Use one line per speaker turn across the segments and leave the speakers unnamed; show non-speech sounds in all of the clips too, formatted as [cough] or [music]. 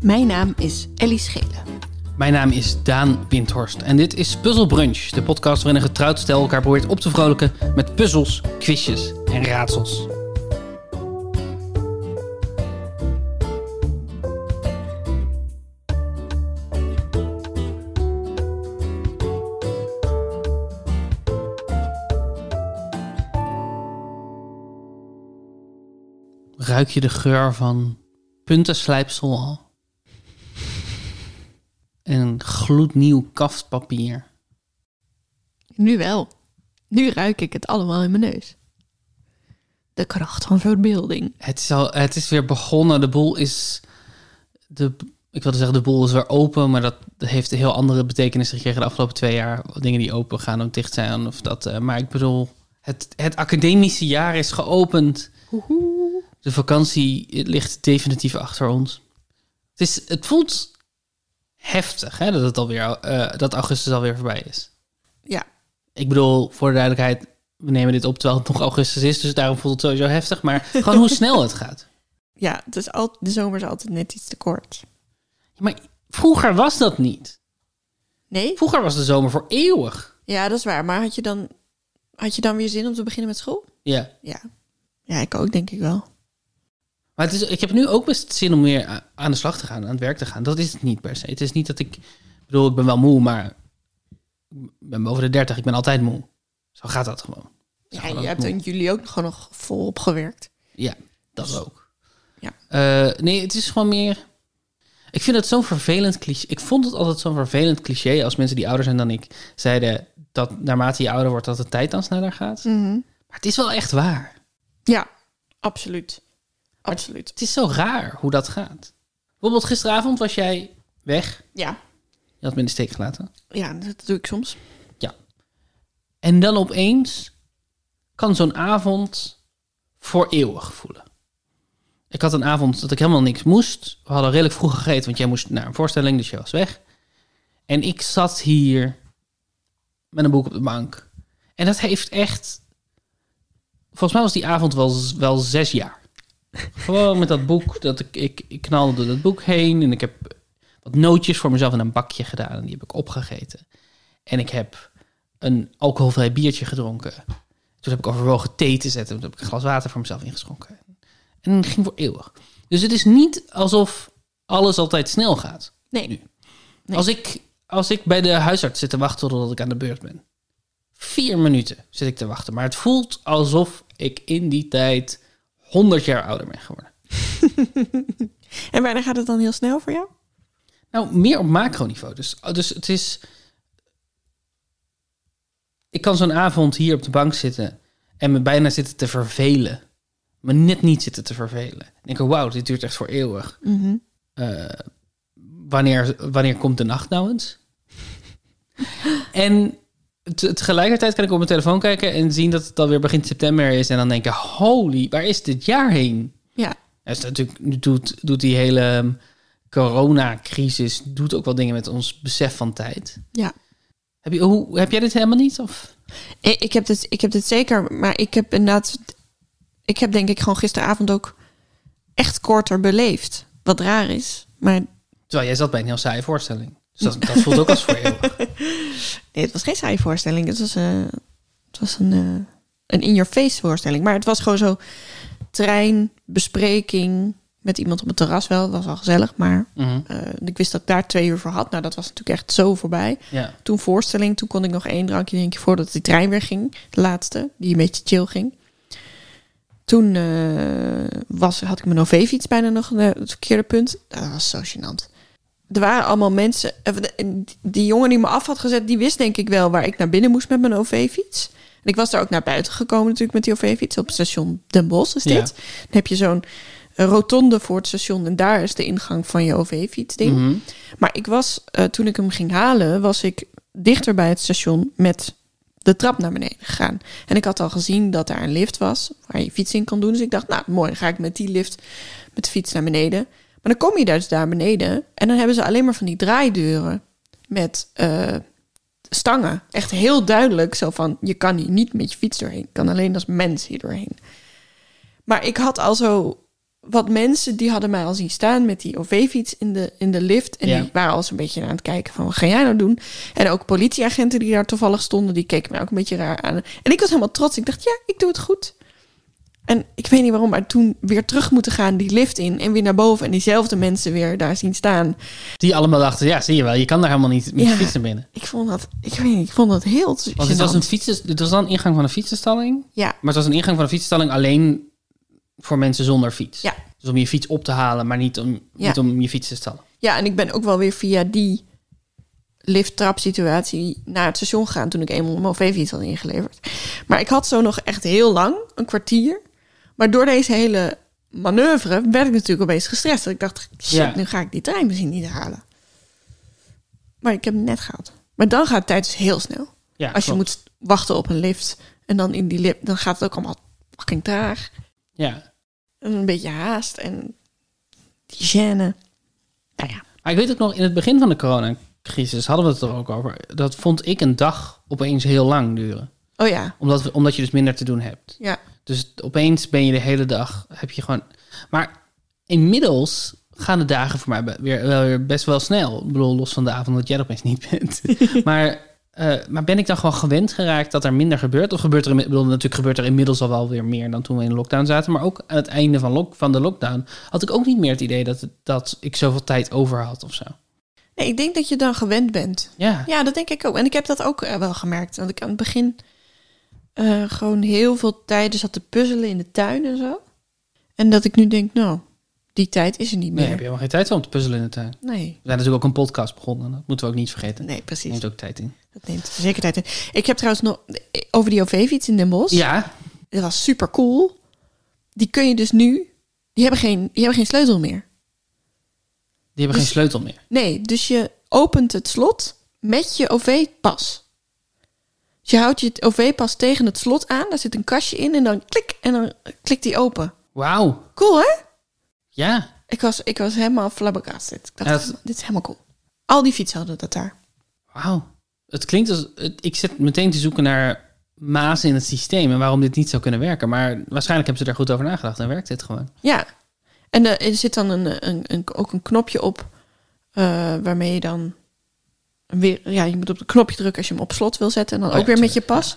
Mijn naam is Ellie Schelen.
Mijn naam is Daan Windhorst en dit is Puzzle Brunch, de podcast waarin een getrouwd stel elkaar probeert op te vrolijken met puzzels, quizjes en raadsels. Ruik je de geur van puntenslijpsel al? En een gloednieuw kaftpapier.
Nu wel. Nu ruik ik het allemaal in mijn neus. De kracht van verbeelding.
Het is, al, het is weer begonnen. De boel is. De, ik wilde zeggen, de boel is weer open. Maar dat heeft een heel andere betekenis gekregen de afgelopen twee jaar. Dingen die open gaan of dicht zijn. Of dat, eh, maar ik bedoel, het, het academische jaar is geopend.
Hoehoe.
De vakantie ligt definitief achter ons. Het, is, het voelt heftig hè, dat, het alweer, eh, dat augustus alweer voorbij is.
Ja.
Ik bedoel, voor de duidelijkheid, we nemen dit op terwijl het nog augustus is. Dus daarom voelt het sowieso heftig. Maar gewoon hoe snel het gaat.
Ja, het is al, de zomer is altijd net iets te kort.
Maar vroeger was dat niet.
Nee?
Vroeger was de zomer voor eeuwig.
Ja, dat is waar. Maar had je dan, had je dan weer zin om te beginnen met school?
Ja.
Ja. Ja, ik ook denk ik wel.
Maar het is, ik heb nu ook best zin om weer a- aan de slag te gaan, aan het werk te gaan. Dat is het niet per se. Het is niet dat ik... Ik bedoel, ik ben wel moe, maar... Ik ben boven de 30. ik ben altijd moe. Zo gaat dat gewoon. Zo
Ja,
gaat
je
dat
hebt
moe.
in juli ook gewoon nog volop gewerkt.
Ja, dat ook.
Ja.
Eh, nee, het is gewoon meer. Ik vind het zo'n vervelend cliché. Ik vond het altijd zo'n vervelend cliché als mensen die ouder zijn dan ik zeiden dat naarmate je ouder wordt, dat de tijd dan sneller gaat. Maar het is wel echt waar.
Ja, absoluut. Absoluut.
Het is zo raar hoe dat gaat. Bijvoorbeeld gisteravond was jij weg.
Ja.
Je had me in de steek gelaten.
Ja, dat doe ik soms.
En dan opeens kan zo'n avond voor eeuwig voelen. Ik had een avond dat ik helemaal niks moest. We hadden redelijk vroeg gegeten, want jij moest naar een voorstelling, dus jij was weg. En ik zat hier met een boek op de bank. En dat heeft echt... Volgens mij was die avond wel, z- wel zes jaar. Gewoon met dat boek. Dat ik, ik, ik knalde door dat boek heen. En ik heb wat nootjes voor mezelf in een bakje gedaan. En die heb ik opgegeten. En ik heb een alcoholvrij biertje gedronken. Toen heb ik overwogen thee te zetten. Toen heb ik een glas water voor mezelf ingeschonken. En het ging voor eeuwig. Dus het is niet alsof alles altijd snel gaat.
Nee.
Nu.
Nee.
Als, ik, als ik bij de huisarts zit te wachten totdat ik aan de beurt ben. Vier minuten zit ik te wachten. Maar het voelt alsof ik in die tijd 100 jaar ouder ben geworden.
En wanneer gaat het dan heel snel voor jou?
Nou, meer op macroniveau. Dus, dus het is. Ik kan zo'n avond hier op de bank zitten en me bijna zitten te vervelen. Me net niet zitten te vervelen. Ik denk, ik, wauw, dit duurt echt voor eeuwig.
Mhm.
Eh, wanneer, wanneer komt de nacht nou eens? [laughs] en te- tegelijkertijd kan ik op mijn telefoon kijken en zien dat het alweer begin september is. En dan denk ik, holy, waar is dit jaar heen?
Ja.
Dus natuurlijk nu doet, doet die hele ehm, coronacrisis doet ook wel dingen met ons besef van tijd.
Ja.
Heb, je, hoe, heb jij dit helemaal niet? Of?
Ik, ik, heb dit, ik heb dit zeker, maar ik heb inderdaad... Ik heb denk ik gewoon gisteravond ook echt korter beleefd. Wat raar is, maar
Terwijl jij zat bij een heel saaie voorstelling. Dus dat, dat voelt ook als voor
[laughs]
eeuwig.
nee, het was geen saaie voorstelling. Het was, eh, het was een, eh, een in-your-face voorstelling. Maar het was gewoon zo trein, bespreking met iemand op het terras wel. Dat was al gezellig, maar
Mhm,
eh, ik wist dat ik daar twee uur voor had. Nou, dat was natuurlijk echt zo voorbij.
Ja.
Toen voorstelling, toen kon ik nog één drankje drinken voordat die trein weer ging. De laatste, die een beetje chill ging. Toen eh, was, had ik mijn OV-fiets bijna nog eh, het verkeerde punt. Ah, Dat was zo gênant. Er waren allemaal mensen... eh, de- Die jongen die me af had gezet, die wist denk ik wel waar ik naar binnen moest met mijn OV-fiets. En ik was daar ook naar buiten gekomen natuurlijk met die OV-fiets. Op station Den Bosch is dit.
Ja.
Dan heb je zo'n eh, rotonde voor het station en daar is de ingang van je OV-fiets ding.
Mhm.
Maar ik was, eh, toen ik hem ging halen, was ik dichter bij het station met de trap naar beneden gegaan. En ik had al gezien dat daar een lift was waar je fiets in kan doen. Dus ik dacht, nou mooi, dan ga ik met die lift met de fiets naar beneden. Maar dan kom je dus daar beneden en dan hebben ze alleen maar van die draaideuren met eh, stangen. Echt heel duidelijk zo van, je kan hier niet met je fiets doorheen. Je kan alleen als mens hier doorheen. Maar ik had al zo wat mensen die hadden mij al zien staan met die OV-fiets in de, in de lift. En
Ja.
die waren al zo'n beetje aan het kijken van, wat ga jij nou doen? En ook politieagenten die daar toevallig stonden, die keken mij ook een beetje raar aan. En ik was helemaal trots. Ik dacht, ja, ik doe het goed. En ik weet niet waarom, maar toen weer terug moeten gaan, die lift in en weer naar boven. En diezelfde mensen weer daar zien staan.
Die allemaal dachten, ja, zie je wel, je kan daar helemaal niet met
Ja.
je fiets naar binnen.
Ik vond dat, ik weet niet, ik vond dat heel
Want het
gênant.
was, een fietsen, het was dan een ingang van een fietsenstalling.
Ja,
Maar het was een ingang van een fietsenstalling alleen voor mensen zonder fiets.
Ja.
Dus om je fiets op te halen, maar niet om,
Ja.
niet om je fiets te stallen.
Ja, en ik ben ook wel weer via die lift-trap-situatie naar het station gegaan toen ik eenmaal mijn OV-fiets had ingeleverd. Maar ik had zo nog echt heel lang, een kwartier. Maar door deze hele manoeuvre werd ik natuurlijk opeens gestrest. Dat ik dacht, shit,
Ja.
nu ga ik die trein misschien niet halen. Maar ik heb hem net gehaald. Maar dan gaat de tijd dus heel snel.
Ja,
Als je
klopt.
moet wachten op een lift en dan in die lift, dan gaat het ook allemaal fucking traag.
Ja.
En een beetje haast en die gêne. Nou ja.
Maar Ah, ik weet ook nog, in het begin van de coronacrisis hadden we het er ook over. Dat vond ik een dag opeens heel lang duren.
Oh ja,
Omdat, we- omdat je dus minder te doen hebt.
ja.
Dus opeens ben je de hele dag, heb je gewoon... Maar inmiddels gaan de dagen voor mij be- weer, wel weer best wel snel. Ik bedoel, los van de avond dat jij er opeens niet bent. maar, eh, maar ben ik dan gewoon gewend geraakt dat er minder gebeurt? Of gebeurt er, inmi- ik bedoel, natuurlijk gebeurt er inmiddels al wel weer meer dan toen we in de lockdown zaten. Maar ook aan het einde van, lock, van de lockdown had ik ook niet meer het idee dat, het- dat ik zoveel tijd over had of zo.
Nee, ik denk dat je dan gewend bent.
Ja,
Ja, dat denk ik ook. En ik heb dat ook eh, wel gemerkt. Want ik aan het begin eh, gewoon heel veel tijden zat te puzzelen in de tuin en zo. En dat ik nu denk, nou, die tijd is er niet
nee,
meer.
heb je helemaal geen tijd voor om te puzzelen in de tuin.
nee,
We zijn natuurlijk ook een podcast begonnen. Dat moeten we ook niet vergeten.
nee,
Dat
precies.
neemt ook tijd in.
Dat neemt zeker tijd in. Ik heb trouwens nog eh, over die OV-fiets in Den Bosch.
Ja,
Dat was super cool. Die kun je dus nu... Die hebben geen, die hebben geen sleutel meer.
die
Dus-
hebben geen sleutel meer.
Nee, dus je opent het slot met je OV-pas. Dus je houdt je OV-pas tegen het slot aan, daar zit een kastje in en dan klik en dan klikt die open.
Wauw.
Cool hè?
Ja,
Ik was, ik was helemaal flabbergasted. Ik dacht,
Ja, dat-
dit is helemaal cool. Al die fietsen hadden dat daar.
wauw. Het klinkt als... het- ik zit meteen te zoeken naar mazen in het systeem en waarom dit niet zou kunnen werken. Maar waarschijnlijk hebben ze daar goed over nagedacht en werkt dit gewoon.
Ja. En eh, er zit dan een, een, een- ook een knopje op eh, waarmee je dan weer, ja, je moet op het knopje drukken als je hem op slot wil zetten en dan
Oh ja,
ook weer met je
tuurlijk,
pas.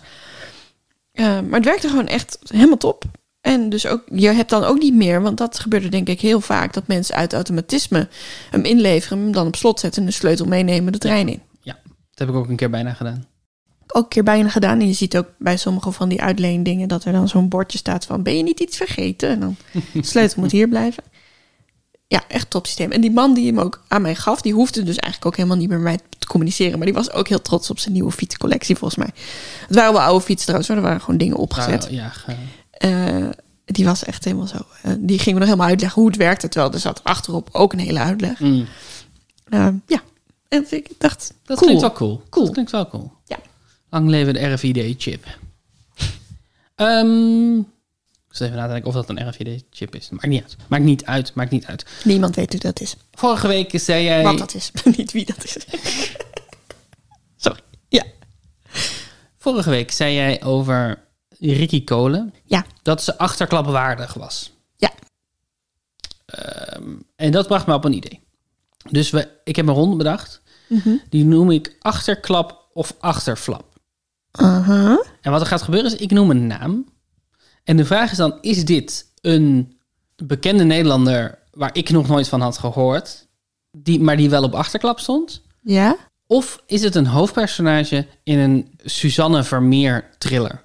Eh, maar het werkte gewoon echt helemaal top. En dus ook, je hebt dan ook niet meer, want dat gebeurde denk ik heel vaak, dat mensen uit automatisme hem inleveren, hem dan op slot zetten en de sleutel meenemen de trein in.
Dat heb ik ook een keer bijna gedaan.
Ook een keer bijna gedaan. En je ziet ook bij sommige van die uitleendingen dat er dan zo'n bordje staat van, ben je niet iets vergeten?
[laughs]
En dan de sleutel moet hier blijven. Ja, echt top systeem. En die man die hem ook aan mij gaf, die hoefde dus eigenlijk ook helemaal niet meer met mij te communiceren. Maar die was ook heel trots op zijn nieuwe fietscollectie, volgens mij. Het waren wel oude fietsen trouwens, maar er waren gewoon dingen opgezet.
Nou, ja, ge-
Eh, die was echt helemaal zo. eh, die ging me nog helemaal uitleggen hoe het werkte. Terwijl er zat achterop ook een hele uitleg.
mm.
Eh, ja, en ik dacht, cool.
Dat klinkt wel cool.
Cool.
Dat klinkt wel cool.
Ja.
Lang leven de RFID-chip. Ehm ik zal even nadenken of dat een RFID-chip is. Maakt niet uit. Maakt niet uit. Maakt niet uit.
Niemand weet hoe dat is.
Vorige week zei jij...
Wat dat is, [laughs] niet wie dat is. Sorry. Ja,
Vorige week zei jij over Ricky Kolen
ja,
dat ze achterklapwaardig was. Ehm,
ja.
En dat bracht me op een idee. Dus we, ik heb een ronde bedacht.
Mhm.
Die noem ik achterklap of achterflap.
Aha.
En wat er gaat gebeuren is, ik noem een naam. En de vraag is dan, is dit een bekende Nederlander waar ik nog nooit van had gehoord, die, maar die wel op achterklap stond?
Ja?
Of is het een hoofdpersonage in een Suzanne Vermeer thriller?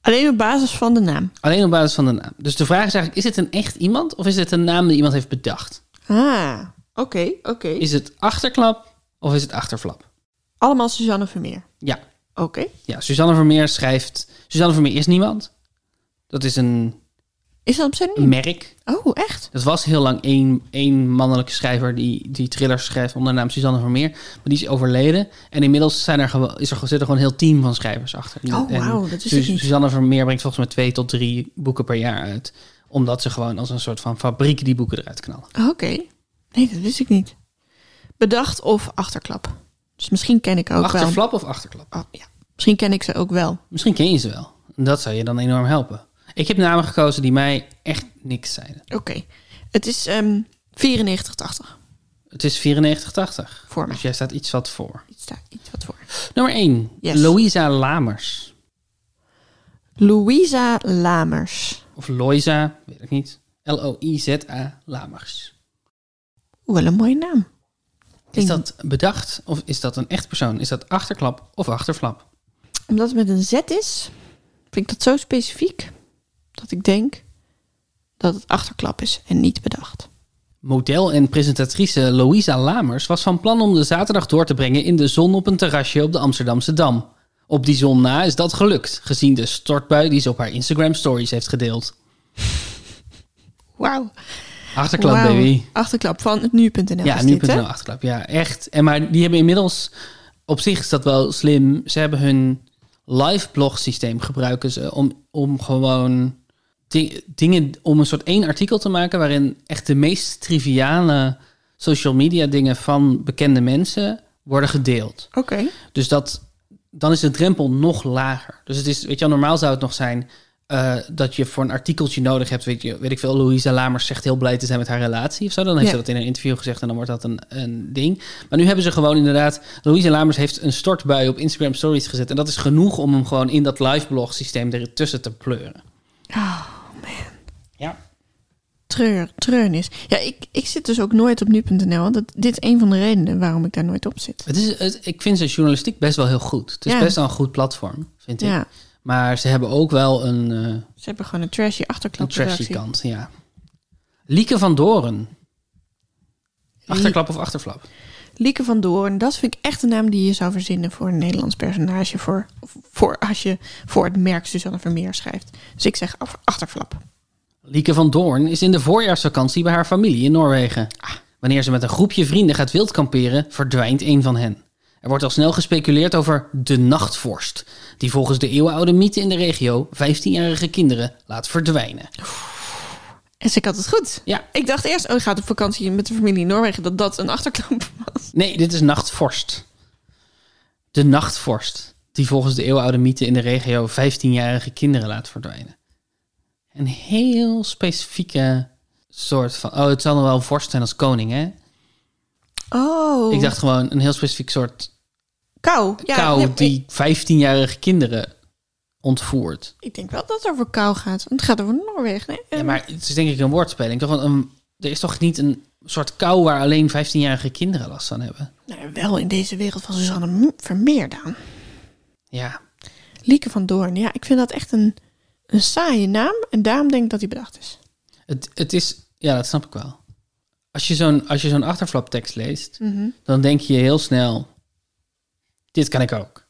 Alleen op basis van de naam.
Alleen op basis van de naam. Dus de vraag is eigenlijk, is het een echt iemand of is het een naam die iemand heeft bedacht?
Ah, oké, oké.
Is het achterklap of is het achterflap?
Allemaal Suzanne Vermeer.
Ja,
Oké.
ja Suzanne Vermeer schrijft... Suzanne Vermeer is niemand. Dat is een
Is dat op zijn
een merk.
Oh, echt?
Dat was heel lang één, één mannelijke schrijver die, die thrillers schreef onder de naam Suzanne Vermeer. Maar die is overleden. En inmiddels zijn er, gewo- is er, zit er gewoon een heel team van schrijvers achter.
Oh,
En
wauw, dat wist
Su-
ik niet.
Suzanne Vermeer brengt volgens mij twee tot drie boeken per jaar uit. Omdat ze gewoon als een soort van fabriek die boeken eruit knallen.
Ah, Oké. Nee, dat wist ik niet. Bedacht of achterklap. Dus misschien ken ik ook wel.
Achterflap of achterklap?
Oh, ja. Misschien ken ik ze ook wel.
Misschien ken je ze wel. Dat zou je dan enorm helpen. Ik heb namen gekozen die mij echt niks zeiden.
Oké. Het is ehm 94,80
Het is 9480.
voor mij.
Dus jij staat iets wat voor.
Iets daar, iets wat voor.
Nummer 1.
Yes.
Louisa Lamers.
Louisa Lamers.
Of Loisa, weet ik niet. L-O-I-Z-A Lamers.
Oeh, wel een mooie naam.
Is
Klinkt-
dat bedacht of is dat een echt persoon? Is dat achterklap of achterflap?
Omdat het met een Z is, vind ik dat zo specifiek dat ik denk dat het achterklap is en niet bedacht.
Model en presentatrice Louisa Lamers was van plan om de zaterdag door te brengen in de zon op een terrasje op de Amsterdamse Dam. Op die zon na is dat gelukt, gezien de stortbui die ze op haar Instagram stories heeft gedeeld.
Wauw.
Achterklap,
Wauw.
baby.
Achterklap van het nu.nl.
Ja,
is
nu
dit, hè?
nu.nl achterklap. Ja, echt. En maar die hebben inmiddels, op zich is dat wel slim. Ze hebben hun live blog systeem gebruiken ze om, om gewoon di- dingen, om een soort één artikel te maken waarin echt de meest triviale social media dingen van bekende mensen worden gedeeld.
Oké.
Dus dat, dan is de drempel nog lager. Dus het is, weet je, wel, normaal zou het nog zijn eh, dat je voor een artikeltje nodig hebt. Weet, je, weet ik veel, Louisa Lamers zegt heel blij te zijn met haar relatie of zo. Dan heeft
Ja.
ze dat in een interview gezegd en dan wordt dat een, een ding. Maar nu hebben ze gewoon inderdaad, Louisa Lamers heeft een stortbui op Instagram Stories gezet. En dat is genoeg om hem gewoon in dat liveblog systeem ertussen te pleuren.
Oh,
Ja.
treur, treurnis. Ja, ik, ik zit dus ook nooit op nu.nl. want Dat, dit is een van de redenen waarom ik daar nooit op zit.
Het is, het, ik vind zijn journalistiek best wel heel goed. Het is
Ja.
best wel een goed platform, vind ik.
Ja,
Maar ze hebben ook wel een, eh,
ze hebben gewoon een trashy
Een
achterklap.
trashy kant, ja. Lieke van Doren. Achterklap of achterflap?
Lieke van Doorn, dat vind ik echt een naam die je zou verzinnen voor een Nederlands personage. Voor, voor als je voor het merk Suzanne Vermeer schrijft. Dus ik zeg af- achterflap.
Lieke van Doorn is in de voorjaarsvakantie bij haar familie in Noorwegen. Wanneer ze met een groepje vrienden gaat wildkamperen, verdwijnt een van hen. Er wordt al snel gespeculeerd over de nachtvorst, die volgens de eeuwenoude mythe in de regio 15-jarige kinderen laat verdwijnen.
En ze had het goed.
Ja,
Ik dacht eerst, oh, gaat op vakantie met de familie in Noorwegen, dat dat een achterklap was.
nee, dit is nachtvorst. De nachtvorst, die volgens de eeuwenoude mythe in de regio 15-jarige kinderen laat verdwijnen. een heel specifieke soort van. Oh, het zal dan wel een vorst zijn als koning, hè?
Oh,
Ik dacht gewoon een heel specifiek soort
kou. Ja,
kou
nee,
die 15-jarige kinderen ontvoert.
Ik, ik denk wel dat het over kou gaat. Want het gaat over Noorwegen. Nee? eh,
Ja, maar het is denk ik een woordspeling. Toch? Want een, er is toch niet een soort kou waar alleen 15-jarige kinderen last van hebben?
Nou, wel in deze wereld van Suzanne M- Vermeer dan.
Ja.
Lieke van Doorn, ja, ik vind dat echt een, een saaie naam. En daarom denk ik dat hij bedacht is.
Het, het is, ja, dat snap ik wel. Als je zo'n als je zo'n achterflaptekst leest, dan denk je heel snel: dit kan ik
[laughs]
ook.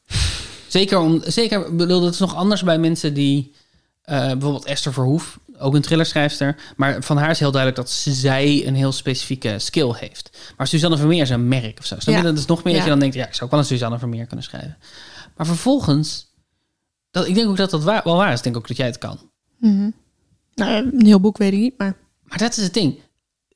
zeker, om, zeker ik bedoel, dat is nog anders bij mensen die eh, bijvoorbeeld Esther Verhoef, ook een thrillerschrijfster, maar van haar is heel duidelijk dat zij een heel specifieke skill heeft. Maar Suzanne Vermeer is een merk of zo. Snap
Ja.
je? Dat is nog meer
Ja.
dat je dan denkt: ja, ik zou ook wel een Suzanne Vermeer kunnen schrijven. Maar vervolgens, dat, ik denk ook dat dat wa- wel waar is. Ik denk ook dat jij het kan.
Nou, een heel boek weet ik niet, maar... [laughs]
Maar dat is het ding.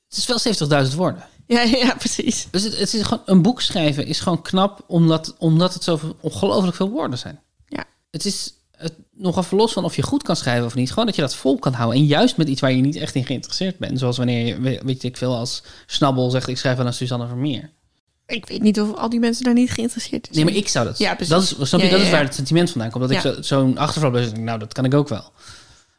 Het is wel 70.000 woorden.
Ja, ja precies.
Dus het, het is gewoon, een boek schrijven is gewoon knap omdat, omdat het zo ongelooflijk veel woorden zijn.
Ja.
Het is het, nogal verlos van of je goed kan schrijven of niet. Gewoon dat je dat vol kan houden. En juist met iets waar je niet echt in geïnteresseerd bent. Zoals wanneer je, we- weet ik veel, als Snabbel zegt ik schrijf wel aan Suzanne Vermeer.
Ik weet niet of al die mensen daar niet geïnteresseerd in
Nee,
zijn.
maar ik zou dat.
Ja, precies.
Dat is, snap je,
Ja,
dat
ja,
is
ja.
waar het sentiment vandaan komt. Dat
Ja.
ik zo- zo'n achterval ben. denk ik, Nou, dat kan ik ook wel.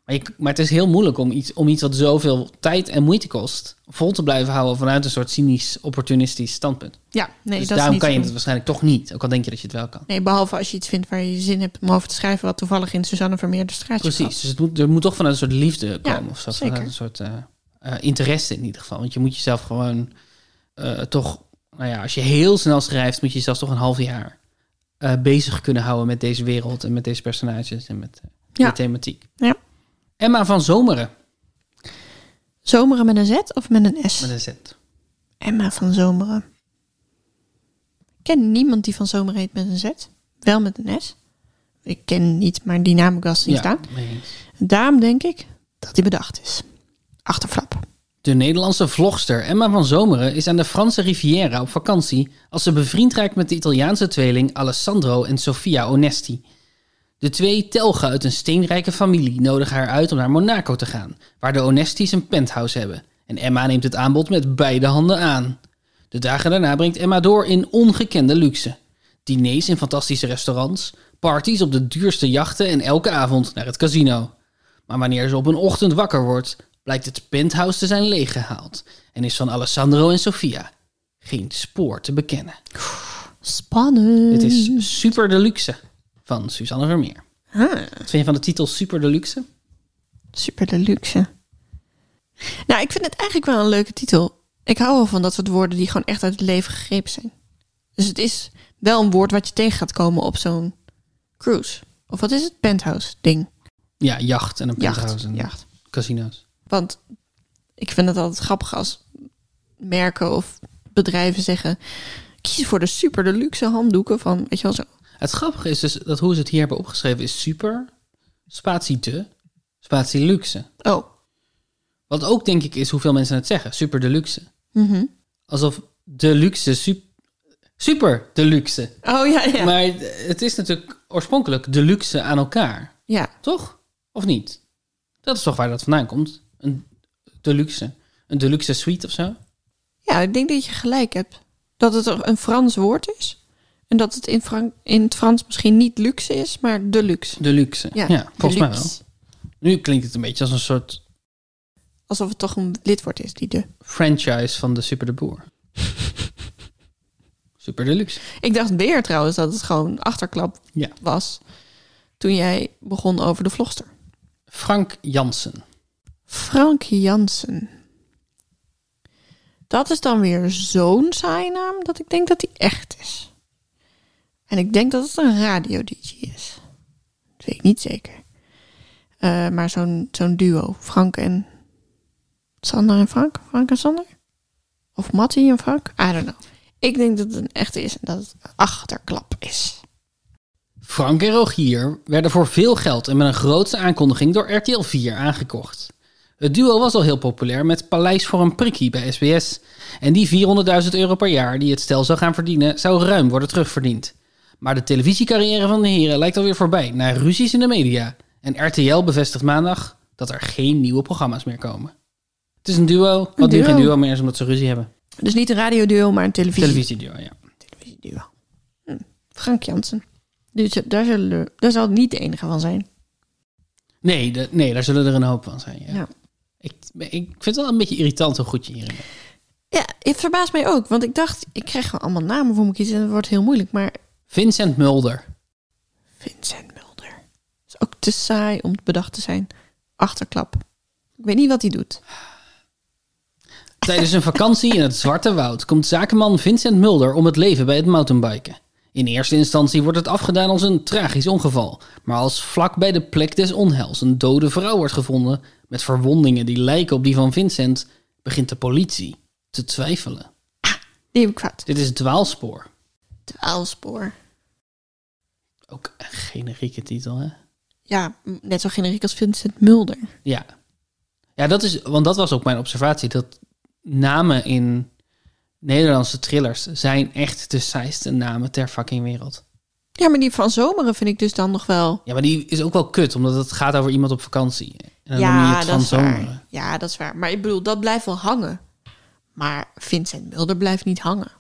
Maar, je, maar het is heel moeilijk om iets, om iets wat zoveel tijd en moeite kost... vol te blijven houden vanuit een soort cynisch, opportunistisch standpunt.
Ja, nee,
dus
dat is
daarom
niet
kan je
zo.
het waarschijnlijk toch niet. Ook al denk je dat je het wel kan.
Nee, behalve als je iets vindt waar je zin hebt om over te schrijven... wat toevallig in Suzanne Vermeer de straatje
Precies. Dus het moet, er moet toch vanuit een soort liefde
Ja,
komen of zo.
zeker.
Vanuit een soort eh, eh, interesse in ieder geval. Want je moet jezelf gewoon eh, toch... Nou ja, als je heel snel schrijft, moet je jezelf toch een half jaar... eh, bezig kunnen houden met deze wereld en met deze personages en met eh,
Ja.
de thematiek.
Ja.
Emma van Zomeren
Zomeren met een Z of met een S?
met een Z.
Emma van Zomeren. Ik ken niemand die van Zomeren heet met een Z. Wel met een S. Ik ken niet, maar die naam heb ik wel zien staan.
mee eens.
Daarom denk ik dat hij bedacht is. Achterflap.
De Nederlandse vlogster Emma van Zomeren is aan de Franse Riviera op vakantie als ze bevriend raakt met de Italiaanse tweeling Alessandro en Sofia Onesti. De twee telgen uit een steenrijke familie nodigen haar uit om naar Monaco te gaan, waar de Onestis een penthouse hebben. En Emma neemt het aanbod met beide handen aan. De dagen daarna brengt Emma door in ongekende luxe. Diners in fantastische restaurants, parties op de duurste jachten en elke avond naar het casino. Maar wanneer ze op een ochtend wakker wordt, blijkt het penthouse te zijn leeggehaald en is van Alessandro en Sofia geen spoor te bekennen.
Spannend.
Dit is Super Deluxe van Suzanne Vermeer.
Ah,
Wat vind je van de titel Super Deluxe?
super deluxe. Nou, ik vind het eigenlijk wel een leuke titel. Ik hou wel van dat soort woorden die gewoon echt uit het leven gegrepen zijn. Dus het is wel een woord wat je tegen gaat komen op zo'n cruise. Of wat is het? Penthouse ding.
Ja, jacht en een
Jacht.
penthouse en
Jacht.
casino's.
Want ik vind het altijd grappig als merken of bedrijven zeggen... kies voor de super deluxe handdoeken van, weet je wel zo.
Het grappige is dus dat hoe ze het hier hebben opgeschreven is super, spatie de, spatie luxe.
Oh,
Wat ook denk ik is hoeveel mensen het zeggen, super deluxe.
mhm.
Alsof de luxe sup- super deluxe.
oh ja, ja.
Maar het is natuurlijk oorspronkelijk de luxe aan elkaar,
ja,
toch? Of niet? Dat is toch waar dat vandaan komt? Een deluxe. Een deluxe suite of zo?
ja, ik denk dat je gelijk hebt. Dat het toch een Frans woord is. En dat het in, Fran- in het Frans misschien niet luxe is, maar deluxe.
Deluxe.
Ja,
Ja, volgens mij wel.
deluxe.
Nu klinkt het een beetje als een soort
Alsof het toch een lidwoord is, die de.
franchise van de Super
[laughs]
de Boer. Super Deluxe.
Ik dacht weer trouwens dat het gewoon achterklap
Ja.
was. Toen jij begon over de vlogster.
Frank Jansen.
Frank Jansen. Dat is dan weer zo'n saai naam dat ik denk dat hij echt is. En ik denk dat het een radio-dj is. Dat weet ik niet zeker. Eh, maar zo'n zo'n duo. Frank en... Sander en Frank? Frank en Sander? Of Mattie en Frank? I don't know. Ik denk dat het een echte is en dat het een achterklap is.
Frank en Rogier werden voor veel geld en met een grootse aankondiging door RTL 4 aangekocht. Het duo was al heel populair met Paleis voor een prikkie bij SBS. En die 400.000 euro per jaar die het stel zou gaan verdienen, zou ruim worden terugverdiend. Maar de televisiecarrière van de heren lijkt alweer voorbij na ruzies in de media. En RTL bevestigt maandag dat er geen nieuwe programma's meer komen. Het is een duo, wat nu
duo.
geen duo meer is omdat ze ruzie hebben.
Dus niet een radioduo, maar een televisie.
Televisieduo, ja.
Televisieduo. Hm. Frank Jansen. Dus daar, zullen, daar zal het niet de enige van zijn.
Nee, de- nee, daar zullen er een hoop van zijn. Ja.
Ja.
Ik, ik vind het wel een beetje irritant hoe goed je hierin bent.
Ja, het verbaast mij ook. Want ik dacht, ik krijg gewoon allemaal namen voor me kiezen. En het wordt heel moeilijk. Maar
Vincent Mulder.
Vincent Mulder. Is ook te saai om bedacht te zijn. Achterklap. Ik weet niet wat hij doet.
Tijdens een vakantie in het Zwarte Woud komt zakenman Vincent Mulder om het leven bij het mountainbiken. In eerste instantie wordt het afgedaan als een tragisch ongeval. Maar als vlak bij de plek des onheils een dode vrouw wordt gevonden met verwondingen die lijken op die van Vincent, begint de politie te twijfelen.
Die heb ik fout.
Dit is dwaalspoor.
Dwaalspoor.
Ook een generieke titel, hè?
Ja, m- net zo generiek als Vincent Mulder.
Ja. Ja, dat is, want dat was ook mijn observatie. Dat namen in Nederlandse thrillers zijn echt de saaiste namen ter fucking wereld.
Ja, maar die van Zomeren vind ik dus dan nog wel...
Ja, maar die is ook wel kut, omdat het gaat over iemand op vakantie. En dan noem je
ja,
het
dat
van
is
zomer.
waar. Ja, dat is waar. Maar ik bedoel, dat blijft wel hangen. Maar Vincent Mulder blijft niet hangen.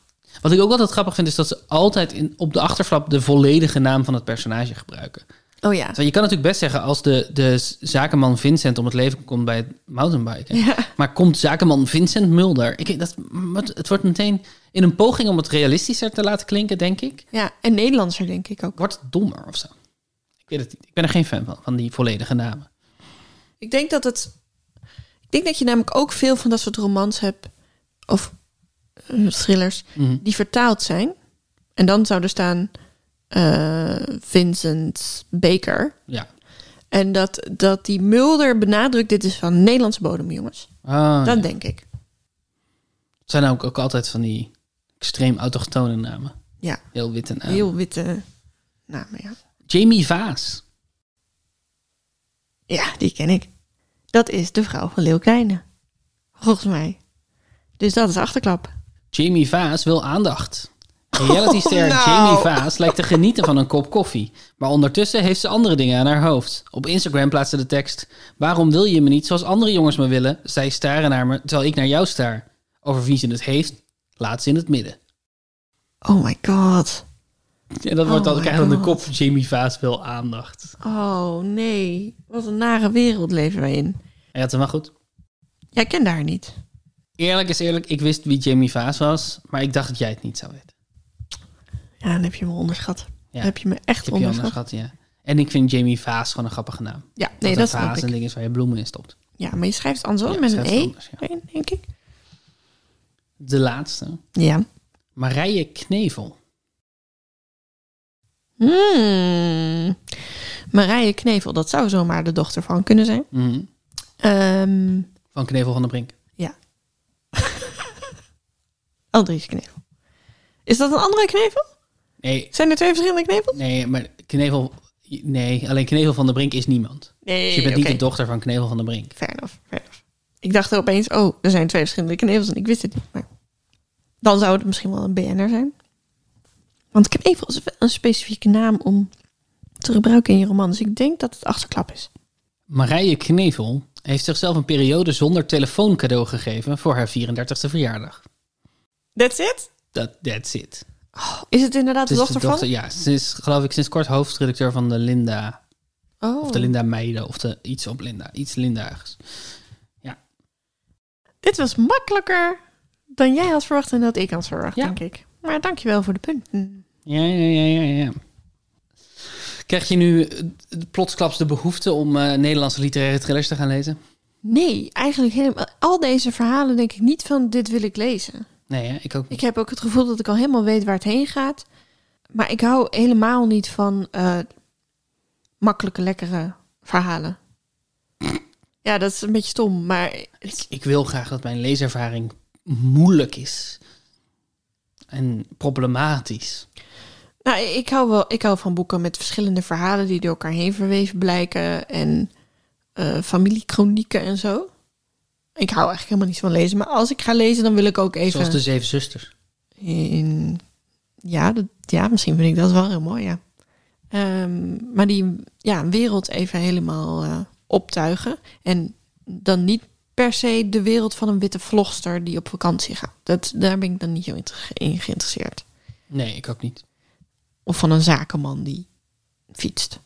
Wat ik ook altijd grappig vind, is dat ze altijd in, op de achterflap de volledige naam van het personage gebruiken.
Oh ja.
Terwijl je kan natuurlijk best zeggen, als de, de z- zakenman Vincent om het leven komt bij het mountainbiken.
Ja.
Maar komt zakenman Vincent Mulder? Ik, dat, het wordt meteen in een poging om het realistischer te laten klinken, denk ik.
Ja, en Nederlandser denk ik ook.
wordt het dommer of zo. Ik weet het niet. Ik ben er geen fan van, van die volledige namen.
Ik denk dat het. Ik denk dat je namelijk ook veel van dat soort romans hebt. Of eh, thrillers. Die vertaald zijn. En dan zou er staan. eh, Vincent Baker.
Ja.
En dat, dat die Mulder benadrukt. Dit is van Nederlandse bodem, jongens.
Ah,
Dat
ja.
denk ik.
Het zijn namelijk ook altijd van die extreem autochtone namen.
Ja.
Heel witte namen.
Heel witte namen, ja.
Jamie Vaas.
Ja, die ken ik. Dat is de vrouw van Leeuw Kleine. Volgens mij. Dus dat is achterklap.
Jamie Vaas wil aandacht. Realityster
nou.
Jamie Vaas lijkt te genieten van een kop koffie. Maar ondertussen heeft ze andere dingen aan haar hoofd. Op Instagram plaatst ze de tekst... Waarom wil je me niet zoals andere jongens me willen? Zij staren naar me, terwijl ik naar jou staar. Over wie ze het heeft, laat ze in het midden.
Oh my god.
En dat wordt
Oh
dan
my
krijgt dan de
God.
kop Jamie Vaas wil aandacht.
Oh nee. Wat een nare wereld leven wij in.
Hij had hem wel goed.
Jij kende haar niet.
Eerlijk is eerlijk, ik wist wie Jamie Vaas was... maar ik dacht dat jij het niet zou weten.
Ja, dan heb je me onderschat.
Ja.
Dan heb je me
Ik
echt
heb je
onderschat.
anders gehad, ja. En ik vind Jamie Vaas gewoon een grappige naam.
Ja, nee, dat
een
snap
vaas een
ik.
ding is waar je bloemen in stopt.
Ja, maar je schrijft het andersom
Ja,
met
schrijf
een
het
E.
anders, ja.
erin, Denk ik.
De laatste.
Ja.
Marije Knevel.
Hmm. Marije Knevel, dat zou zomaar de dochter van kunnen zijn.
Mhm.
Ehm [laughs]
Van Knevel van der Brink.
Aldries Knevel. Is dat een andere knevel?
Nee,
Zijn er twee verschillende knevels?
nee, maar Knevel... Nee, alleen Knevel van der Brink is niemand.
Nee,
Dus je bent
Eh, oké.
niet de dochter van Knevel van der Brink.
Fair enough, fair enough. Ik dacht er opeens, oh, er zijn twee verschillende knevels en ik wist het niet. Maar dan zou het misschien wel een BN'er zijn. Want knevel is wel een specifieke naam om te gebruiken in je roman. Dus ik denk dat het achterklap is.
Marije Knevel heeft zichzelf een periode zonder telefoon cadeau gegeven voor haar 34e verjaardag.
That's it?
Dat that's it.
Oh, Is het inderdaad de
Dus
dochter,
Ja, ze is geloof ik sinds kort hoofdredacteur van de Linda.
van? Oh,
Of de Linda Meiden. Of de, iets op Linda. Iets Linda's.
dit was makkelijker dan jij had verwacht en dat ik had verwacht,
Ja.
denk ik. Maar dankjewel voor de punten.
Ja, ja, ja, ja, ja. Krijg je nu eh, plotsklaps de behoefte om eh, Nederlandse literaire thrillers te gaan lezen?
Nee, eigenlijk helemaal. Al deze verhalen denk ik niet van dit wil ik lezen.
Nee, hè? ik ook niet.
Ik heb ook het gevoel dat ik al helemaal weet waar het heen gaat. Maar ik hou helemaal niet van eh, makkelijke, lekkere verhalen. Ja, dat is een beetje stom, maar
Ik, ik wil graag dat mijn leeservaring moeilijk is. En problematisch.
nou, ik hou wel ik hou van boeken met verschillende verhalen die door elkaar heen verweven blijken en eh familiekronieken en zo. Ik hou eigenlijk helemaal niet van lezen, maar als ik ga lezen, dan wil ik ook even
Zoals de Zeven Zusters.
In, ja, dat, ja, misschien vind ik dat wel heel mooi, ja. Ehm, maar die ja, wereld even helemaal eh, optuigen. En dan niet per se de wereld van een witte vlogster die op vakantie gaat. Dat, daar ben ik dan niet zo in ge- in geïnteresseerd.
Nee, ik ook niet.
Of van een zakenman die fietst.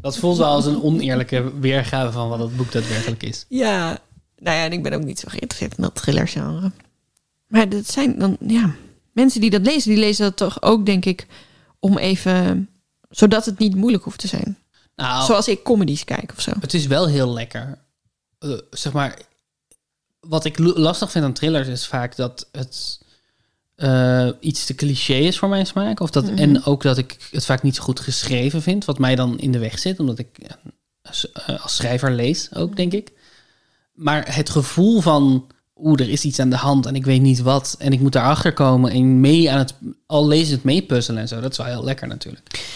Dat voelt wel als een oneerlijke weergave van wat het boek daadwerkelijk is.
Ja, nou ja, en ik ben ook niet zo geïnteresseerd in dat thrillergenre. Maar dat zijn dan, ja, mensen die dat lezen, die lezen dat toch ook, denk ik, om even, zodat het niet moeilijk hoeft te zijn.
Nou,
Zoals ik comedies kijk of zo.
het is wel heel lekker. Eh, zeg maar, wat ik lo- lastig vind aan thrillers is vaak dat het eh, iets te cliché is voor mijn smaak. Of dat, En ook dat ik het vaak niet zo goed geschreven vind, wat mij dan in de weg zit, omdat ik eh, als, eh, als schrijver lees ook, denk ik. Maar het gevoel van, oeh, er is iets aan de hand en ik weet niet wat. En ik moet daarachter komen en mee aan het, al lezend meepuzzelen en zo. Dat is wel heel lekker natuurlijk.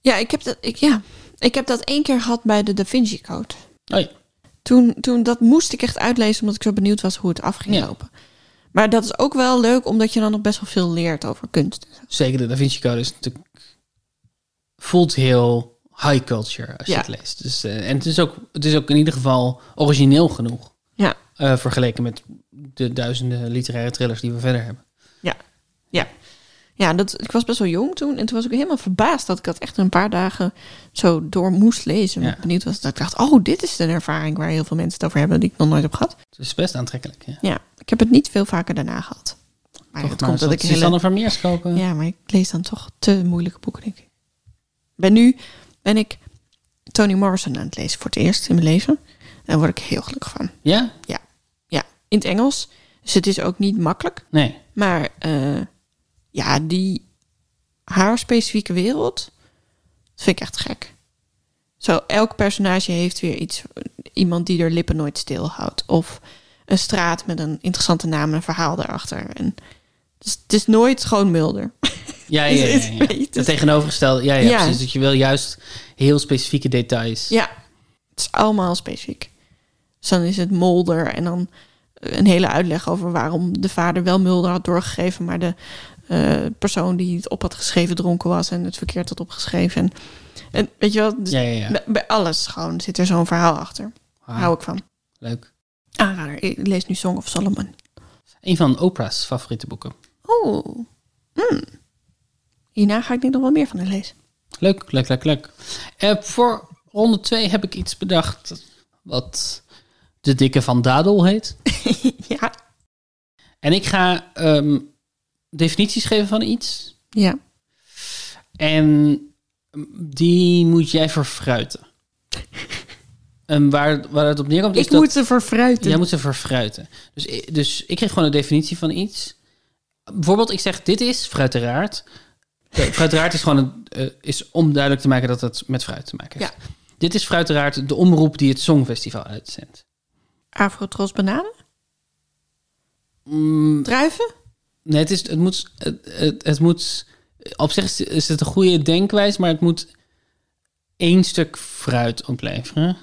Ja, ik heb dat, ik, ja, ik heb dat één keer gehad bij de Da Vinci Code.
Oh ja.
Toen, toen dat moest ik echt uitlezen omdat ik zo benieuwd was hoe het af ging
Ja.
lopen. Maar dat is ook wel leuk omdat je dan nog best wel veel leert over kunst.
zeker de Da Vinci Code is natuurlijk voelt heel high culture als je
Ja.
het leest. Dus, eh, en het is, ook, het is ook in ieder geval origineel genoeg
Ja,
eh, vergeleken met de duizenden literaire thrillers die we verder hebben.
Ja, ja. Ja, dat, ik was best wel jong toen. En toen was ik helemaal verbaasd dat ik dat echt een paar dagen zo door moest lezen.
Ja.
Omdat ik Benieuwd was dat ik dacht, oh, dit is een ervaring waar heel veel mensen het over hebben die ik nog nooit heb gehad.
Het is best aantrekkelijk. Ja.
Ja, ik heb het niet veel vaker daarna gehad. Maar
Toch
dat komt
eens
dat ik
wat Susanne
hele...
Vermeers kopen.
Ja, maar ik lees dan toch te moeilijke boeken, denk ik. Ben nu ben ik Toni Morrison aan het lezen voor het eerst in mijn leven. Daar word ik heel gelukkig van.
Ja?
Ja, ja. in het Engels. Dus het is ook niet makkelijk.
Nee.
Maar eh, ja, die haar specifieke wereld, dat vind ik echt gek. Zo, elk personage heeft weer iets. Iemand die er lippen nooit stilhoudt. Of een straat met een interessante naam en een verhaal daarachter. En, dus het is nooit gewoon Mulder. [laughs]
Ja, ja, ja.
Is
ja,
het
ja.
beter?
Het tegenovergestelde. Ja, ja,
Ja.
precies. Dat je wil juist heel specifieke details.
Ja, het is allemaal specifiek. Dus dan is het Mulder en dan eh, een hele uitleg over waarom de vader wel Mulder had doorgegeven, maar de eh, persoon die het op had geschreven dronken was en het verkeerd had opgeschreven. En, en weet je wel, dus
Ja, ja, ja.
bij- bij alles gewoon zit er zo'n verhaal achter.
Ah,
Hou ik van.
Leuk.
Aanrader, ik lees nu Song of Solomon.
Een van Oprah's favoriete boeken.
Oh, Hmm. hierna ga ik denk nog wel meer van hem [laughs] lezen.
Leuk, leuk, leuk, leuk. Eh, voor ronde 2 heb ik iets bedacht wat de dikke van Dadel heet.
ja.
En ik ga ehm, definities geven van iets.
Ja.
En ehm, die moet jij verfruiten. en waar, waar het op neerkomt is
ik
Dus dat...
moet ze verfruiten.
Jij moet ze verfruiten. Dus, i- dus ik kreeg gewoon een definitie van iets. Bijvoorbeeld, ik zeg dit is fruiteraard. Eh, fruiteraard is gewoon een, eh, is om duidelijk te maken dat het met fruit te maken heeft. Dit is fruiteraard de omroep die het Songfestival uitzendt.
Afrotros bananen?
Mm,
Druiven?
nee, het, is, het, moet, het, het, het moet... Op zich is- is het een goede denkwijze, maar het moet één stuk fruit opleveren.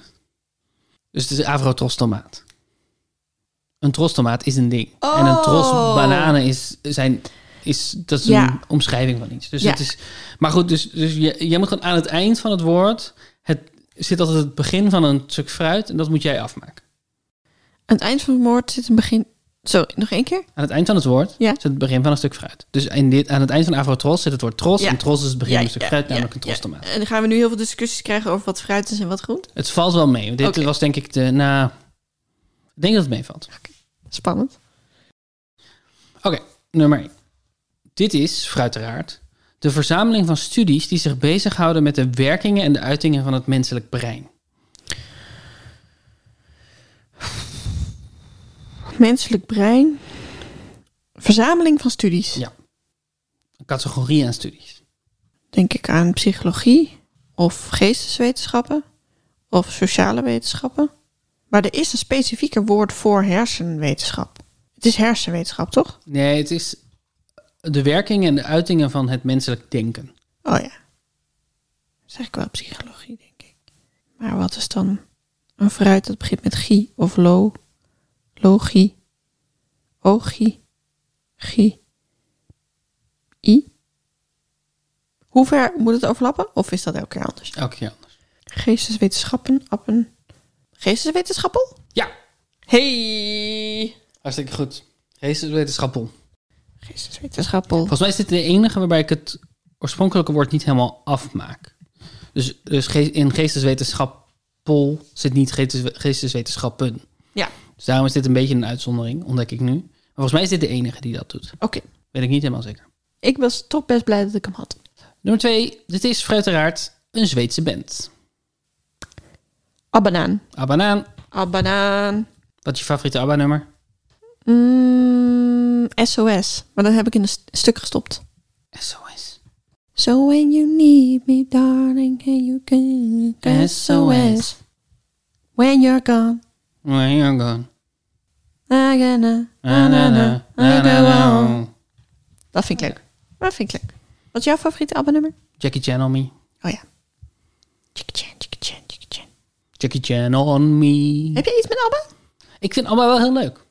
Dus het is Avrotros tomaat. Een tros tomaat is een ding.
Oh.
En een tros bananen is, zijn, is, dat is
Ja.
een omschrijving van iets. Dus
Ja.
het is, maar goed, dus, dus je, jij moet gewoon aan het eind van het woord... Het, zit altijd het begin van een stuk fruit en dat moet jij afmaken.
Aan het eind van het woord zit een begin... Sorry, nog één keer?
Aan het eind van het woord
Ja.
zit het begin van een stuk fruit. Dus in dit, aan het eind van Avrotros zit het woord tros.
Ja.
En tros is het begin
Ja,
van een stuk
ja,
fruit,
ja,
namelijk een
ja.
trostomaat.
En dan gaan we nu heel veel discussies krijgen over wat fruit is en wat groent.
Het valt wel mee. Dit
Oké.
was denk ik de... Nou, ik denk dat het meevalt.
Spannend.
Oké, nummer 1. Dit is, fruiteraard, de verzameling van studies die zich bezighouden met de werkingen en de uitingen van het menselijk brein.
Menselijk brein. Verzameling van studies.
Ja. Een categorie aan studies.
Denk ik aan psychologie of geesteswetenschappen of sociale wetenschappen. Maar er is een specifieker woord voor hersenwetenschap. Het is hersenwetenschap, toch?
Nee, het is de werkingen en de uitingen van het menselijk denken.
Oh ja. Zeg ik wel psychologie, denk ik. Maar wat is dan een fruit dat begint met gie of lo? Logie. Ogie. Gie. I. Hoe ver moet het overlappen? Of is dat elke keer anders?
Elke keer anders.
Geesteswetenschappen, appen. Geesteswetenschappel?
Ja,
Hey!
hartstikke goed. Geesteswetenschappel.
Geesteswetenschappel.
Volgens mij is dit de enige waarbij ik het oorspronkelijke woord niet helemaal afmaak. Dus, dus ge- in geesteswetenschappel zit niet geestes- geesteswetenschappen.
Ja,
Dus daarom is dit een beetje een uitzondering, ontdek ik nu. Maar volgens mij is dit de enige die dat doet.
oké.
Weet ik niet helemaal zeker.
Ik was toch best blij dat ik hem had.
Nummer twee, dit is uiteraard een Zweedse band.
Abbanaan.
Abbanaan,
Abbanaan.
wat is je favoriete ABBA-nummer?
Mm, SOS. Maar dat heb ik in een st- stuk gestopt.
SOS.
So when you need me, darling, and you can SOS.
SOS.
When you're gone,
Where you gone?
I gonna,
Na, na, na, na,
I
na,
go on.
na.
Dat vind ik leuk. Dat vind ik leuk. Wat is jouw favoriete abonnummer?
Jackie Chan on me.
Oh ja. Chicka chan, chicka chan, chicka chan.
Jackie Chan on me.
Heb je iets met Abba?
Ik vind ABBA wel heel leuk.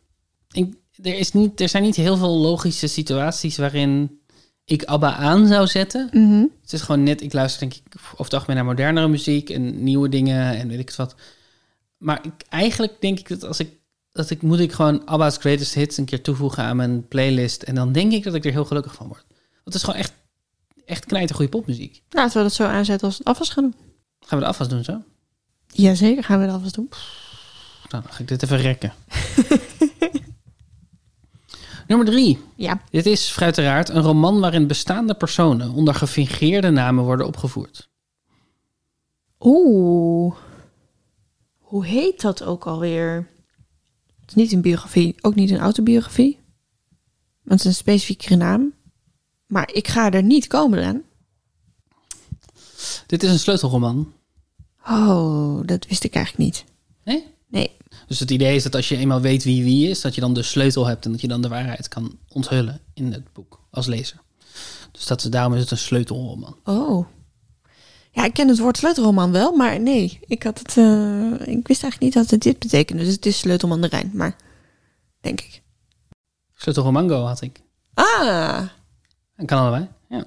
Ik, er, is niet, er zijn niet heel veel logische situaties waarin ik ABBA aan zou zetten.
Mhm.
Het is gewoon net, ik luister denk ik over het algemeen naar modernere muziek en nieuwe dingen en weet ik het wat. Maar ik, eigenlijk denk ik dat als ik, dat ik, moet ik gewoon ABBA's Greatest Hits een keer toevoegen aan mijn playlist. En dan denk ik dat ik er heel gelukkig van word. Want het is gewoon echt, echt knijter goede popmuziek.
Laten we dat zo aanzetten als we het afwas gaan doen.
Gaan we de afwas doen zo?
Jazeker gaan we het afwas doen.
Nou, dan ga ik dit even rekken. Nummer drie.
Ja.
Dit is uiteraard een roman waarin bestaande personen onder gefingeerde namen worden opgevoerd.
Oeh. Hoe heet dat ook alweer? Het is niet een biografie, ook niet een autobiografie. Want het is een specifieke naam. Maar ik ga er niet komen aan.
Dit is een sleutelroman.
Oh, dat wist ik eigenlijk niet.
Nee?
Nee.
Dus het idee is dat als je eenmaal weet wie wie is, dat je dan de sleutel hebt en dat je dan de waarheid kan onthullen in het boek als lezer. Dus dat, daarom is het een sleutelroman.
Oh. Ja, ik ken het woord sleutelroman wel, maar nee. Ik, had het, eh, ik wist eigenlijk niet dat het dit betekende. Dus het is sleutelman de Rijn. Maar denk ik.
Sleutel mango had ik.
Ah,
En kan allebei. Ja.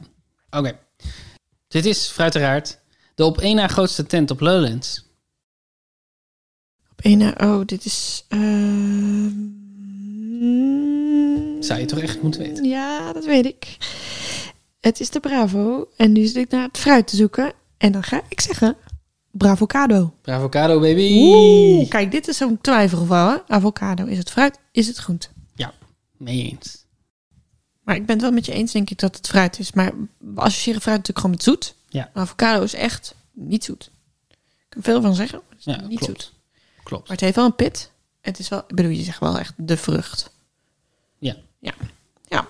Oké. Dit is, fruiteraard, de op één na grootste tent op Lowlands.
op één na. Oh, dit is. ehm,
Zou je toch echt moeten weten?
Ja, dat weet ik. Het is de Bravo. En nu zit ik naar het fruit te zoeken. En dan ga ik zeggen: Bravocado.
Bravocado, baby!
Oeh, kijk, dit is zo'n twijfelgeval. Hè? Avocado is het fruit, is het groente.
Mee eens.
Maar ik ben het wel met je eens, denk ik, dat het fruit is. Maar we associëren fruit natuurlijk gewoon met zoet.
Ja.
Maar avocado is echt niet zoet. Ik kan veel van zeggen, maar het is
Ja,
niet
klopt.
zoet.
Klopt.
Maar het heeft wel een pit. Het is wel, ik bedoel, je zegt wel echt de vrucht.
Ja.
Ja. Ja.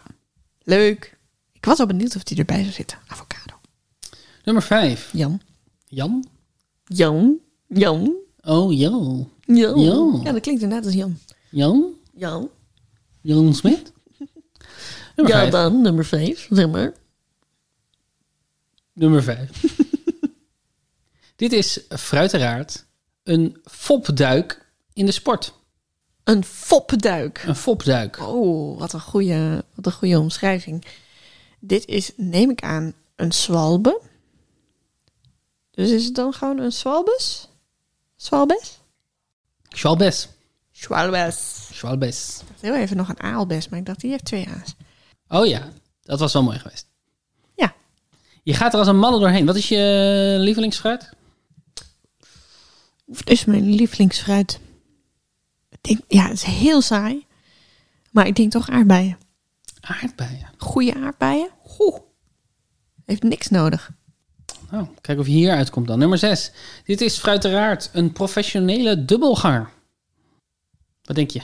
Leuk. Ik was al benieuwd of die erbij zou zitten. Avocado.
Nummer 5.
Jan.
Jan?
Jan. Jan.
Oh, Jan.
Jan.
Jan.
Ja, dat klinkt inderdaad als Jan.
Jan?
Jan.
Jan Smit? Nummer 5.
dan nummer 5, zeg maar.
Nummer 5. [laughs] Dit is, eh, fruiteraard, een fopduik in de sport.
Een fopduik.
Een fopduik.
Oh, wat een goede, wat een goede omschrijving. Dit is, neem ik aan, een zwalbe. Dus is het dan gewoon een zwalbes? Zwalbes?
Schwalbes.
Zwalbes.
Schwalbes.
Ik dacht heel even nog een aalbes, maar ik dacht, die heeft twee A's.
Oh ja, dat was wel mooi geweest.
Ja.
Je gaat er als een malle doorheen. Wat is je lievelingsfruit?
Het is dus mijn lievelingsfruit. Ik denk, ja, het is heel saai. Maar ik denk toch aardbeien.
Aardbeien.
Goede aardbeien. Goh. Heeft niks nodig.
Nou, kijk of je hier uitkomt dan. Nummer 6. Dit is fruiteraard een professionele dubbelganger. Wat denk je?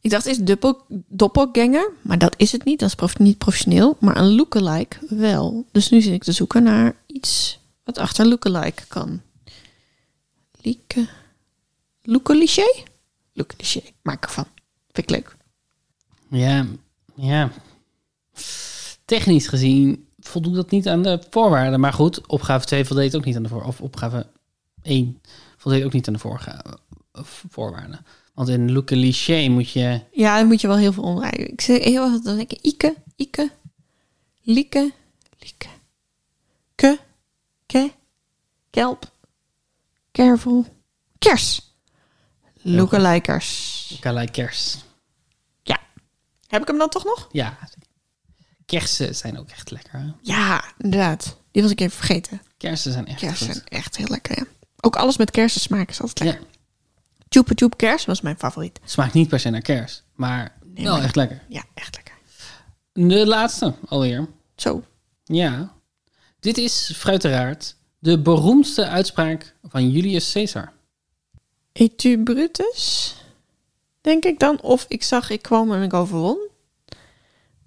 Ik dacht eerst dubbel, doppelganger, maar dat is het niet. Dat is prof- niet professioneel, maar een lookalike wel. Dus nu zit ik te zoeken naar iets wat achter lookalike kan. Lieke. Lookaliché? Lookaliché. Maak ervan. Vind ik leuk.
Ja, ja. Technisch gezien voldoet dat niet aan de voorwaarden. Maar goed, opgave 2 voldeed ook niet aan de voorwaarden. Of opgave 1 voldeed ook niet aan de voorga- of voorwaarden. Want in Luca Liché moet je...
Ja, dan moet je wel heel veel omrijden. Ik zeg heel erg dan denk ik Ike, Ike, Lieke, Lieke, Ke, Ke, Kelp, Kervel, Kers. Lookalikers.
Kalei kers.
Ja. Heb ik hem dan toch nog?
Ja. Kersen zijn ook echt lekker. Hè?
Ja, inderdaad. Die was ik even vergeten.
Kersen zijn echt
Kersen,
goed.
echt heel lekker, ja. Ook alles met kersensmaak is altijd lekker.
Ja,
Tjoepe tjoep kers was mijn favoriet.
het smaakt niet per se naar kers, maar wel
maar-
echt lekker.
Nou, Ja, echt lekker.
De laatste alweer.
Zo.
Ja. Dit is, fruiteraard, de beroemdste uitspraak van Julius Caesar.
Et tu Brutus? Denk ik dan. Of ik zag, ik kwam en ik overwon.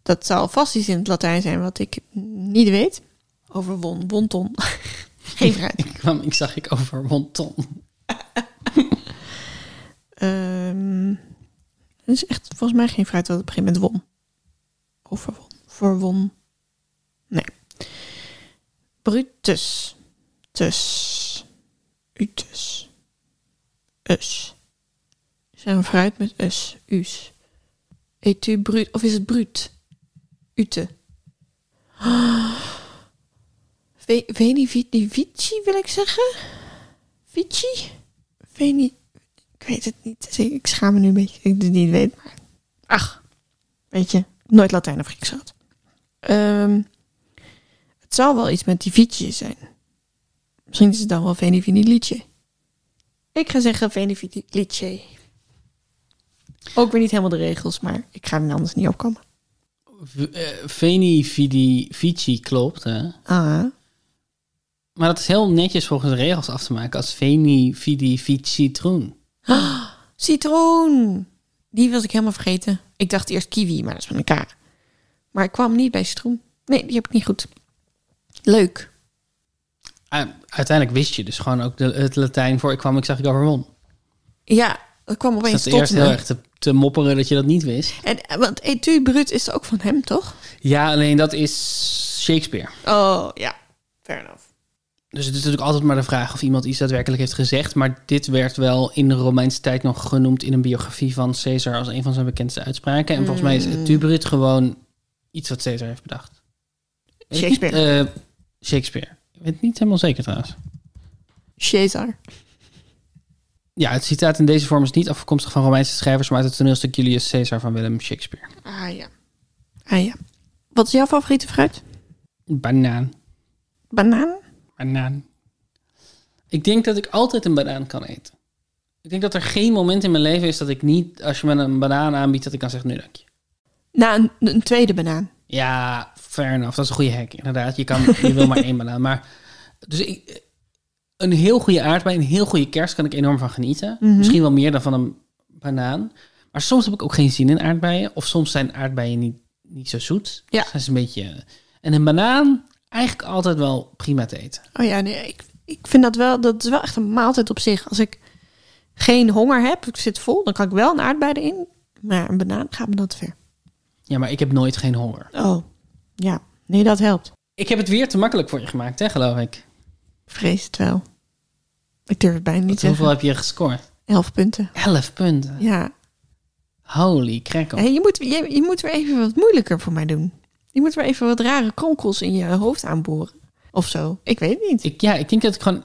Dat zal vast iets in het Latijn zijn wat ik niet weet. Overwon, wonton. [laughs] Geen fruit.
[laughs] Ik kwam, ik zag ik over wonton.
Ehm, het is echt volgens mij geen fruit dat het begint met won. Of verwon. Verwon. Nee. Brutus. Tus. Utus. Us. Is er een fruit met us? Us. Et tu brut? Of is het brut? Ute. [gasps] Ve- Veni vidi vici wil ik zeggen? Vici? Veni... Ik weet het niet. Dus ik- Ik schaam me nu een beetje dat ik het niet weet. Maar ach, weet je, nooit Latijn of Grieks gehad. Ehm, het zal wel iets met die fietsje zijn. Misschien is het dan wel Veni Vini Liedje. Ik ga zeggen Veni Vini Liedje. Ook weer niet helemaal de regels, maar ik ga er anders niet op komen.
V- eh, Veni vidi vici klopt, hè?
Ah,
Maar dat is heel netjes volgens de regels af te maken als Veni vidi vici troen.
citroen! Die was ik helemaal vergeten. Ik dacht eerst kiwi, maar dat is met elkaar. Maar ik kwam niet bij citroen. Nee, die heb ik niet goed. Leuk.
Ah, uiteindelijk wist je dus gewoon ook de, het Latijn voor ik kwam, ik zag ik overwon.
Ja, dat kwam
Ik
opeens
zat
tot
eerst
me.
heel erg te, te mopperen dat je dat niet wist.
En, eh, want Etu Brut is ook van hem, toch?
Ja, alleen dat is Shakespeare.
Oh, ja. Fair enough.
Dus het is natuurlijk altijd maar de vraag of iemand iets daadwerkelijk heeft gezegd. Maar dit werd wel in de Romeinse tijd nog genoemd in een biografie van Caesar als een van zijn bekendste uitspraken. En volgens mij is het Tuberit gewoon iets wat Caesar heeft bedacht. Weet ik niet.
Shakespeare.
Eh, Shakespeare. Ik weet het niet helemaal zeker trouwens.
Caesar.
Ja, het citaat in deze vorm is niet afkomstig van Romeinse schrijvers, maar uit het toneelstuk Julius Caesar van Willem Shakespeare.
Ah ja. Ah ja. Wat is jouw favoriete fruit?
Banaan.
Banaan?
Banaan. Ik denk dat ik altijd een banaan kan eten. Ik denk dat er geen moment in mijn leven is dat ik niet, als je me een banaan aanbiedt, dat ik kan zeggen, nu dank je.
Nou, een, een tweede banaan.
Ja, fair enough. Dat is een goede hack, inderdaad. Je, kan, je wil maar één banaan. Maar, dus ik, een heel goede aardbei, een heel goede kerst kan ik enorm van genieten. Misschien wel meer dan van een banaan. Maar soms heb ik ook geen zin in aardbeien. Of soms zijn aardbeien niet, niet zo zoet.
Ja.
Zijn ze een beetje... En een banaan eigenlijk altijd wel prima te eten.
Oh ja, nee, ik, ik vind dat wel, dat is wel echt een maaltijd op zich. Als ik geen honger heb, ik zit vol, dan kan ik wel een aardbei erin. Maar een banaan gaat me dat ver.
Ja, maar ik heb nooit geen honger.
Oh, ja. Nee, dat helpt.
Ik heb het weer te makkelijk voor je gemaakt, hè, geloof ik.
Vrees het wel. Ik durf het bijna niet te zeggen.
Hoeveel heb je gescoord?
Elf punten.
Elf punten.
Ja.
Holy crackle.
Hé, je, moet, je, je moet weer even wat moeilijker voor mij doen. Je moet weer even wat rare kronkels in je hoofd aanboren. Of zo. Ik weet het niet.
Ik, ja, ik denk dat ik gewoon,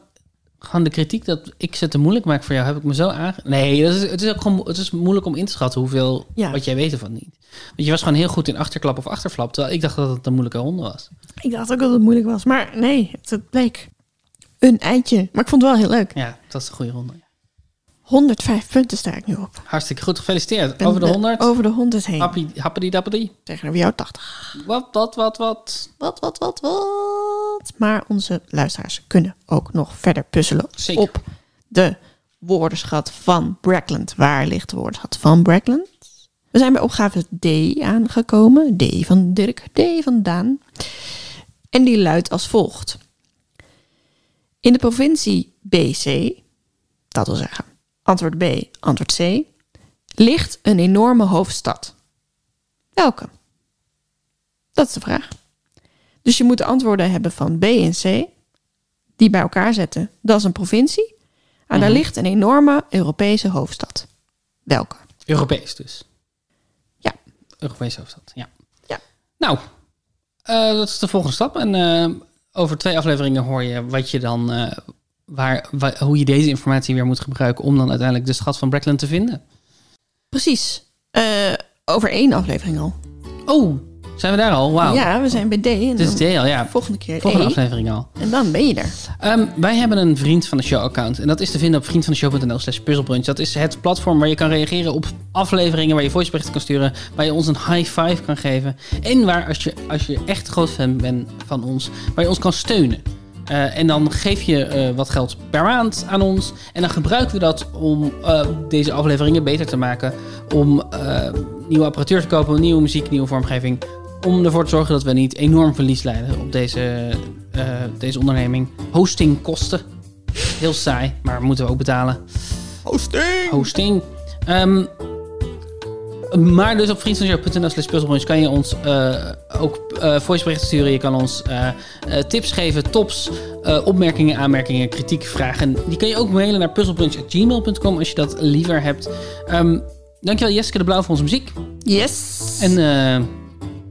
gewoon de kritiek dat ik ze te moeilijk maak voor jou, heb ik me zo aange... Nee, dat is, het is ook gewoon het is moeilijk om in te schatten hoeveel
Ja.
wat jij weet ervan niet. Want je was gewoon heel goed in achterklap of achterflap, terwijl ik dacht dat het een moeilijke ronde was.
Ik dacht ook dat het moeilijk was. Maar nee, het, het bleek een eitje. Maar ik vond het wel heel leuk.
Ja, dat is een goede ronde.
105 punten sta ik nu op.
Hartstikke goed, gefeliciteerd.
Ben
Over de 100.
Over de 100 heen.
Happy, happity dappity.
Tegenover jou 80.
Wat, wat, wat, wat.
Wat, wat, wat, wat. Maar onze luisteraars kunnen ook nog verder puzzelen
Zeker.
op de woordenschat van Brackland. Waar ligt de woordenschat van Brackland? We zijn bij opgave D aangekomen. D van Dirk, D van Daan. En die luidt als volgt. In de provincie BC, dat wil zeggen antwoord B, antwoord C, ligt een enorme hoofdstad. Welke? Dat is de vraag. Dus je moet de antwoorden hebben van B en C, die bij elkaar zetten. Dat is een provincie. En
Mhm.
daar ligt een enorme Europese hoofdstad. Welke?
Europees dus.
Ja.
Europees hoofdstad, ja.
Ja.
Nou, eh, dat is de volgende stap. En eh, over twee afleveringen hoor je wat je dan, eh, waar, wa- hoe je deze informatie weer moet gebruiken om dan uiteindelijk de schat van Brackland te vinden.
Precies. Eh, over één aflevering al.
Oh, zijn we daar al? Wauw.
Ja, we zijn bij D. En
Dit Oh. Dus is
dan
D al, ja.
volgende keer
Volgende
E.
aflevering al.
En dan ben je er.
Ehm, wij hebben een vriend van de show account. En dat is te vinden op vriendvandeshow.nl slash puzzelbrunch. Dat is het platform waar je kan reageren op afleveringen, waar je voiceberichten kan sturen, waar je ons een high five kan geven. En waar, als je, als je echt groot fan bent van ons, waar je ons kan steunen. Eh, en dan geef je eh, wat geld per maand aan ons. En dan gebruiken we dat om eh, deze afleveringen beter te maken. Om eh, nieuwe apparatuur te kopen, nieuwe muziek, nieuwe vormgeving. Om ervoor te zorgen dat we niet enorm verlies leiden op deze, eh, deze onderneming. Hostingkosten. Heel saai, maar moeten we ook betalen.
Hosting!
Hosting. Ehm, maar dus op vriendvanjou.nl slash puzzelbrunch kan je ons eh, ook eh voiceberichten sturen. Je kan ons eh, eh, tips geven, tops, eh, opmerkingen, aanmerkingen, kritiek, vragen. Die kan je ook mailen naar puzzelbrunch.gmail.com als je dat liever hebt. Ehm, dankjewel Jessica de Blauw voor onze muziek.
Yes!
En eh,